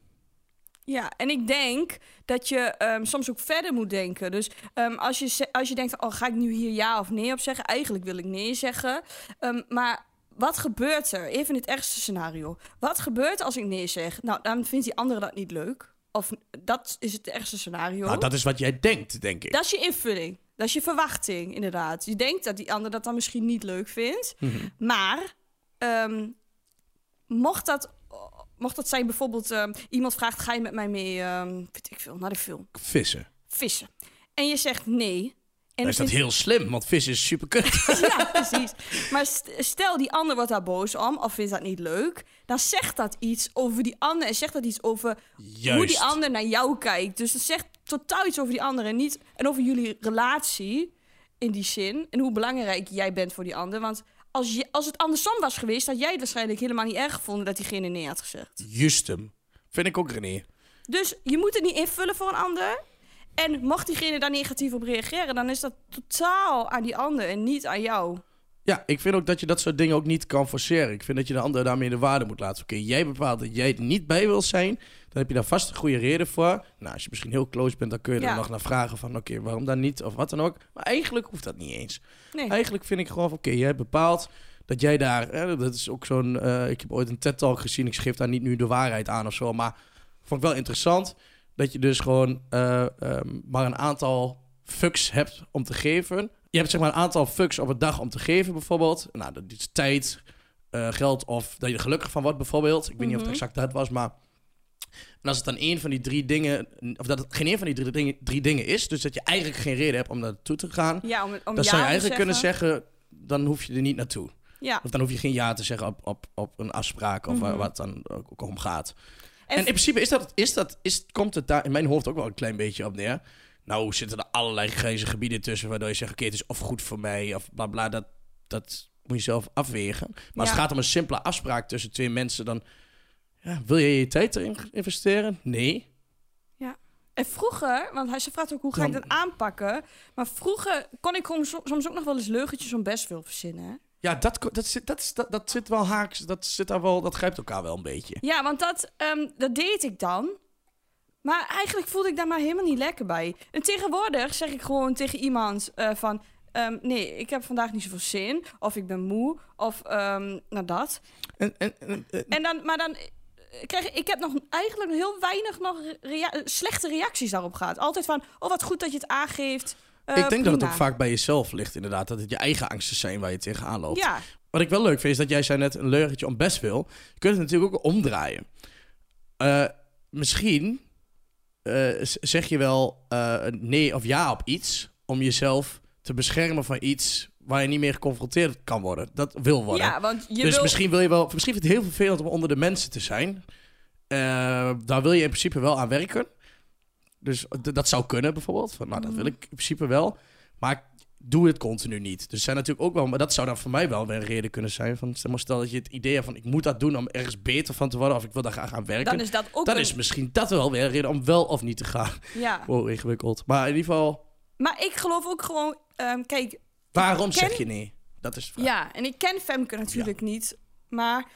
[SPEAKER 2] Ja, en ik denk dat je ehm, soms ook verder moet denken. Dus ehm, als, je, ze- als je denkt, oh, ga ik nu hier ja of nee op zeggen? Eigenlijk wil ik nee zeggen. Ehm, maar wat gebeurt er? Even in het ergste scenario. Wat gebeurt als ik nee zeg? Nou, dan vindt die andere dat niet leuk. Of dat is het ergste scenario.
[SPEAKER 1] Nou, dat is wat jij denkt, denk ik.
[SPEAKER 2] Dat is je invulling. Dat is je verwachting, inderdaad. Je denkt dat die ander dat dan misschien niet leuk vindt.
[SPEAKER 1] Mhm.
[SPEAKER 2] Maar ehm, mocht, dat, mocht dat zijn bijvoorbeeld... ehm, iemand vraagt, ga je met mij mee, ehm, weet ik veel, naar de film?
[SPEAKER 1] Vissen.
[SPEAKER 2] Vissen. En je zegt nee. En
[SPEAKER 1] Dan is dat
[SPEAKER 2] vindt-
[SPEAKER 1] heel slim, want vissen is super kut.
[SPEAKER 2] Ja, precies. Maar st- stel, die ander wordt daar boos om of vindt dat niet leuk. Dan zegt dat iets over die ander en zegt dat iets over hoe die
[SPEAKER 1] Juist.
[SPEAKER 2] ander naar jou kijkt. Dus dat zegt totaal iets over die ander en, niet, en over jullie relatie in die zin. En hoe belangrijk jij bent voor die ander. Want als, je, als het andersom was geweest, had jij het waarschijnlijk helemaal niet erg gevonden dat diegene nee had gezegd.
[SPEAKER 1] Justum. Vind ik ook René.
[SPEAKER 2] Dus je moet het niet invullen voor een ander. En mocht diegene daar negatief op reageren, dan is dat totaal aan die ander en niet aan jou.
[SPEAKER 1] Ja, ik vind ook dat je dat soort dingen ook niet kan forceren. Ik vind dat je de ander daarmee in de waarde moet laten. Oké, jij bepaalt dat jij het niet bij wil zijn. Dan heb je daar vast een goede reden voor. Nou, als je misschien heel close bent, dan kun je er
[SPEAKER 2] Ja.
[SPEAKER 1] nog naar vragen van... oké, waarom dan niet of wat dan ook. Maar eigenlijk hoeft dat niet eens.
[SPEAKER 2] Nee.
[SPEAKER 1] Eigenlijk vind ik gewoon van, oké, jij bepaalt dat jij daar... Hè, dat is ook zo'n... eh, ik heb ooit een TED-talk gezien. Ik schreef daar niet nu de waarheid aan of zo. Maar vond ik wel interessant dat je dus gewoon eh, ehm, maar een aantal fucks hebt om te geven. Je hebt zeg maar een aantal fucks op een dag om te geven bijvoorbeeld. Nou, dat is tijd, eh, geld of dat je er gelukkig van wordt bijvoorbeeld. Ik weet niet of het
[SPEAKER 2] Mhm.
[SPEAKER 1] exact dat was, maar... En als het dan één van die drie dingen... Of dat het geen één van die drie dingen, drie dingen is... dus dat je eigenlijk geen reden hebt om naartoe te gaan...
[SPEAKER 2] Ja, om, om ja
[SPEAKER 1] Dan zou je
[SPEAKER 2] te
[SPEAKER 1] eigenlijk kunnen zeggen, dan hoef je er niet naartoe.
[SPEAKER 2] Ja.
[SPEAKER 1] Of dan hoef je geen ja te zeggen op, op, op een afspraak of
[SPEAKER 2] Mhm.
[SPEAKER 1] waar, waar het dan ook, ook om gaat. En,
[SPEAKER 2] En,
[SPEAKER 1] in principe is dat, is dat, is, komt het daar in mijn hoofd ook wel een klein beetje op neer. Nou zitten er allerlei grijze gebieden tussen waardoor je zegt, oké, het is of goed voor mij of bla bla. Dat, dat moet je zelf afwegen. Maar als het
[SPEAKER 2] Ja.
[SPEAKER 1] gaat om een simpele afspraak tussen twee mensen, dan ja, wil je je tijd erin investeren? Nee.
[SPEAKER 2] en vroeger, want hij ze vraagt ook hoe ga ik
[SPEAKER 1] Dan-
[SPEAKER 2] dat aanpakken. Maar vroeger kon ik gewoon so- soms ook nog wel eens leugentjes om best veel verzinnen. hè?
[SPEAKER 1] Ja, dat, ko- dat, zit, dat, is- dat, dat zit wel haaks. Dat, zit daar wel, dat grijpt elkaar wel een beetje.
[SPEAKER 2] Ja, want dat, ehm, dat deed ik dan. Maar eigenlijk voelde ik daar maar helemaal niet lekker bij. En tegenwoordig zeg ik gewoon tegen iemand eh, van... ehm, nee, ik heb vandaag niet zoveel zin. Of ik ben moe. Of ehm nou dat.
[SPEAKER 1] En, en, en- en-
[SPEAKER 2] En dan, maar dan eh, krijg ik, ik heb nog eigenlijk heel weinig nog rea- eh, slechte reacties daarop gehad. Altijd van, oh wat goed dat je het aangeeft. Eh,
[SPEAKER 1] ik denk dat het
[SPEAKER 2] prima.
[SPEAKER 1] ook vaak bij jezelf ligt, inderdaad. Dat het je eigen angsten zijn waar je tegenaan loopt.
[SPEAKER 2] Ja,
[SPEAKER 1] Wat ik wel leuk vind, is dat jij zei net een leugentje om best wil. Je kunt het natuurlijk ook omdraaien. Eh, misschien eh, z- zeg je wel eh, nee of ja op iets... om jezelf te beschermen van iets waar je niet meer geconfronteerd kan worden. Dat wil worden.
[SPEAKER 2] ja want je
[SPEAKER 1] dus
[SPEAKER 2] wil...
[SPEAKER 1] misschien wil je wel... Misschien vindt het heel vervelend om onder de mensen te zijn. Eh, daar wil je in principe wel aan werken. Dus d- dat zou kunnen bijvoorbeeld. Van, nou, dat
[SPEAKER 2] Mm.
[SPEAKER 1] wil ik in principe wel. Maar ik doe het continu niet. Dus er zijn natuurlijk ook wel... Maar dat zou dan voor mij wel weer een reden kunnen zijn. Van, stel, maar stel dat je het idee hebt van... ik moet dat doen om ergens beter van te worden... of ik wil daar graag aan werken.
[SPEAKER 2] Dan is dat ook
[SPEAKER 1] dan
[SPEAKER 2] een-
[SPEAKER 1] is misschien dat wel weer een reden om wel of niet te gaan.
[SPEAKER 2] Ja,
[SPEAKER 1] Wow, ingewikkeld. Maar in ieder geval,
[SPEAKER 2] maar ik geloof ook gewoon... ehm, kijk,
[SPEAKER 1] waarom
[SPEAKER 2] Ken-
[SPEAKER 1] zeg je nee? Dat is de vraag.
[SPEAKER 2] ja, en ik ken Femke natuurlijk niet. Maar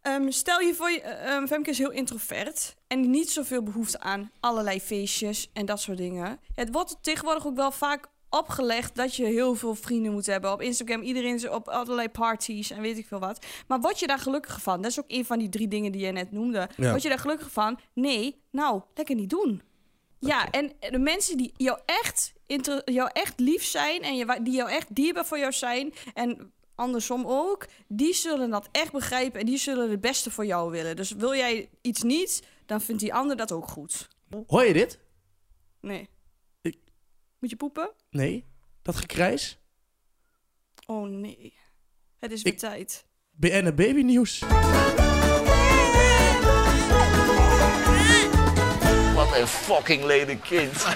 [SPEAKER 2] ehm, stel je voor... je- eh, ehm, Femke is heel introvert. En niet zoveel behoefte aan allerlei feestjes en dat soort dingen. Het wordt tegenwoordig ook wel vaak opgelegd dat je heel veel vrienden moet hebben. Op Instagram, iedereen is op allerlei parties en weet ik veel wat. Maar word je daar gelukkig van? Dat is ook een van die drie dingen die je net noemde.
[SPEAKER 1] Ja.
[SPEAKER 2] Word je daar gelukkig van? Nee, nou, lekker niet doen. Ja, en de mensen die jou echt, inter- jou echt lief zijn en je, wa- die jou echt dierbaar voor jou zijn en andersom ook, die zullen dat echt begrijpen en die zullen het beste voor jou willen. Dus wil jij iets niet, dan vindt die ander dat ook goed.
[SPEAKER 1] Hoor je dit?
[SPEAKER 2] Nee.
[SPEAKER 1] Ik-
[SPEAKER 2] Moet je poepen?
[SPEAKER 1] Nee? Dat gekrijs?
[SPEAKER 2] Oh nee. Het is weer
[SPEAKER 1] Ik-
[SPEAKER 2] tijd.
[SPEAKER 1] BNN Baby Nieuws.
[SPEAKER 4] Wat een fucking lelijk kind.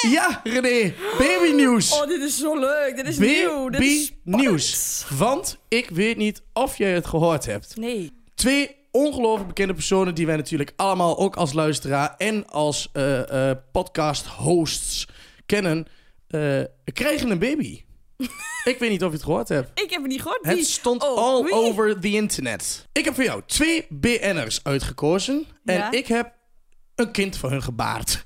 [SPEAKER 1] Ja, René, babynieuws.
[SPEAKER 2] Oh, dit is zo leuk. Dit is nieuw. Dit is spannend.
[SPEAKER 1] Babynieuws. Want ik weet niet of jij het gehoord hebt.
[SPEAKER 2] Nee.
[SPEAKER 1] Twee ongelooflijk bekende personen die wij natuurlijk allemaal ook als luisteraar en als eh, eh, podcast-hosts kennen, eh, krijgen een baby. ik weet niet of je het gehoord hebt.
[SPEAKER 2] Ik heb het niet gehoord. Wie?
[SPEAKER 1] Het stond
[SPEAKER 2] Oh,
[SPEAKER 1] all
[SPEAKER 2] wie?
[SPEAKER 1] over the internet. Ik heb voor jou twee BN'ers uitgekozen. En
[SPEAKER 2] Ja.
[SPEAKER 1] ik heb een kind voor hun gebaard.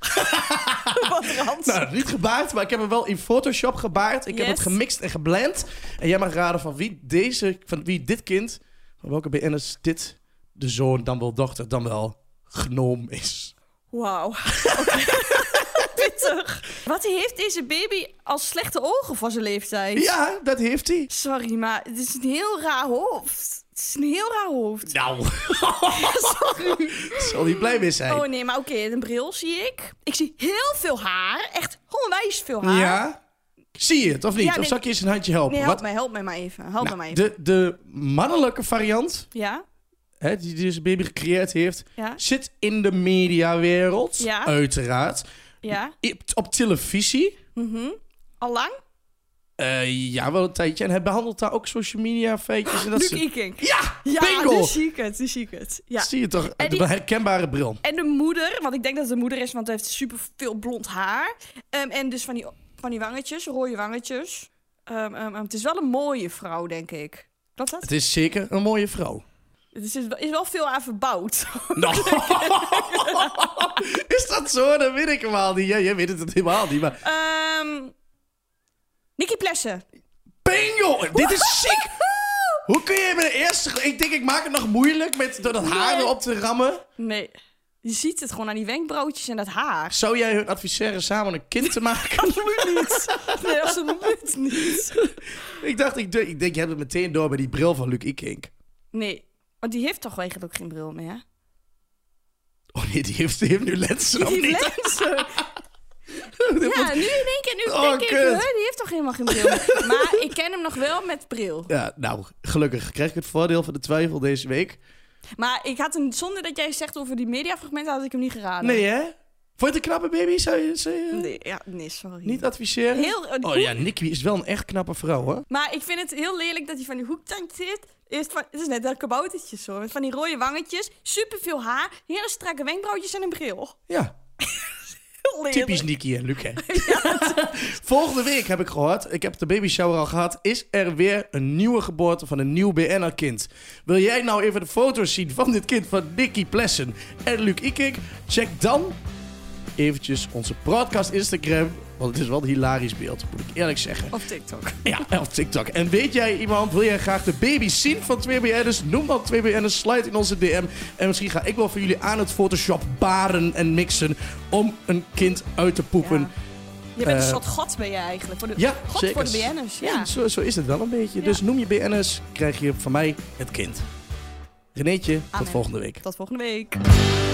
[SPEAKER 2] Wat Rans.
[SPEAKER 1] Nou, niet gebaard, maar ik heb hem wel in Photoshop gebaard. Ik heb
[SPEAKER 2] Yes.
[SPEAKER 1] het gemixt en geblend. En jij mag raden van wie deze, van wie dit kind, van welke BN'ers dit de zoon, dan wel dochter, dan wel genoom is.
[SPEAKER 2] Wauw. Oké. Pittig. Wat heeft deze baby als slechte ogen van zijn leeftijd?
[SPEAKER 1] Ja, dat heeft hij.
[SPEAKER 2] Sorry, maar het is een heel raar hoofd. Het is een heel raar hoofd.
[SPEAKER 1] Nou, Oh, zal hij blij mee zijn.
[SPEAKER 2] Oh nee, maar oké, een bril zie ik. Ik zie heel veel haar. Echt onwijs veel haar.
[SPEAKER 1] ja. Zie je het of niet?
[SPEAKER 2] Ja, nee.
[SPEAKER 1] Of zal ik je eens een handje helpen?
[SPEAKER 2] Nee, help
[SPEAKER 1] Wat- Nou,
[SPEAKER 2] mij, help mij maar even. Help mij maar even.
[SPEAKER 1] de, de mannelijke variant,
[SPEAKER 2] Ja?
[SPEAKER 1] hè, die deze baby gecreëerd heeft,
[SPEAKER 2] Ja?
[SPEAKER 1] zit in de mediawereld,
[SPEAKER 2] Ja.
[SPEAKER 1] uiteraard.
[SPEAKER 2] Ja?
[SPEAKER 1] I- Op televisie,
[SPEAKER 2] Allang?
[SPEAKER 1] Eh, ja, wel een tijdje. En hij behandelt daar ook social media feitjes en dat
[SPEAKER 2] Luc
[SPEAKER 1] soort-
[SPEAKER 2] Ikink.
[SPEAKER 1] Ja,
[SPEAKER 2] Ja,
[SPEAKER 1] bingo!
[SPEAKER 2] nu zie ik het, nu zie ik het. Ja.
[SPEAKER 1] Zie je toch?
[SPEAKER 2] En die-
[SPEAKER 1] De herkenbare bril.
[SPEAKER 2] En de moeder, want ik denk dat het de moeder is, want hij heeft super veel blond haar. Ehm, en dus van die, van die wangetjes, rode wangetjes. Ehm, ehm, ehm, het is wel een mooie vrouw, denk ik. Klopt dat?
[SPEAKER 1] Het is zeker een mooie vrouw.
[SPEAKER 2] Er is, is wel veel aan verbouwd.
[SPEAKER 1] Nou. is dat zo? Dat weet ik helemaal niet. Ja, jij weet het helemaal niet. Maar
[SPEAKER 2] Ehm Nicky Plessen.
[SPEAKER 1] bingo! Dit is ziek! Hoe kun je met de eerste... Ik denk, ik maak het nog moeilijk met, door dat haar
[SPEAKER 2] Nee.
[SPEAKER 1] erop te rammen.
[SPEAKER 2] Nee, je ziet het gewoon aan die wenkbrauwtjes en dat haar.
[SPEAKER 1] Zou jij hun adviseren samen een kind te maken?
[SPEAKER 2] Absoluut niet. Nee, absoluut niet.
[SPEAKER 1] ik dacht, ik, denk- ik denk, je hebt het meteen door bij die bril van Luc Ikink.
[SPEAKER 2] Nee, want die heeft toch eigenlijk ook geen bril meer, hè?
[SPEAKER 1] Oh nee, die heeft, die heeft nu lenzen of
[SPEAKER 2] Die
[SPEAKER 1] niet?
[SPEAKER 2] lenzen. Ja, nu in één keer, nu
[SPEAKER 1] Oh,
[SPEAKER 2] denk ik,
[SPEAKER 1] kut.
[SPEAKER 2] huh, die heeft toch helemaal geen bril meer. Maar ik ken hem nog wel met bril.
[SPEAKER 1] Ja, nou, gelukkig krijg ik het voordeel van de twijfel deze week.
[SPEAKER 2] Maar ik had hem, zonder dat jij zegt over die mediafragmenten, had ik hem niet geraden.
[SPEAKER 1] Nee, hè? Vond je het een knappe baby? Zou je, zou je
[SPEAKER 2] Nee, ja, nee sorry.
[SPEAKER 1] niet adviseren?
[SPEAKER 2] Heel- eh,
[SPEAKER 1] oh
[SPEAKER 2] hoe-
[SPEAKER 1] ja, Nicky is wel een echt knappe vrouw, hoor.
[SPEAKER 2] Maar ik vind het heel lelijk dat hij van die hoektand zit. Eerst van, het is net dat kaboutertjes zo. Met van die rode wangetjes, superveel haar, hele strakke wenkbrauwtjes en een bril.
[SPEAKER 1] Ja,
[SPEAKER 2] Heel lelijk.
[SPEAKER 1] typisch Nicky en Luc, hè? Volgende week heb ik gehoord, ik heb de baby shower al gehad, is er weer een nieuwe geboorte van een nieuw BN'er kind. Wil jij nou even de foto's zien van dit kind van Nicky Plessen en Luc Ikink? Check dan eventjes onze podcast Instagram, want het is wel een hilarisch beeld, moet ik eerlijk zeggen.
[SPEAKER 2] Op TikTok.
[SPEAKER 1] Ja, en op TikTok. En weet jij iemand, wil jij graag de baby zien van 2BN'ers? Noem dan 2BN'ers, slide in onze DM. En misschien ga ik wel voor jullie aan het Photoshop baren en mixen om een kind uit te poepen.
[SPEAKER 2] Ja. Je bent
[SPEAKER 1] Eh,
[SPEAKER 2] een soort god ben je eigenlijk. Voor de,
[SPEAKER 1] Ja,
[SPEAKER 2] god
[SPEAKER 1] zeker.
[SPEAKER 2] voor de BN'ers. Ja.
[SPEAKER 1] Ja, zo, zo is het wel een beetje.
[SPEAKER 2] Ja.
[SPEAKER 1] Dus noem je BN'ers, krijg je van mij het kind. Renéetje, tot
[SPEAKER 2] Amen.
[SPEAKER 1] volgende week.
[SPEAKER 2] Tot volgende week.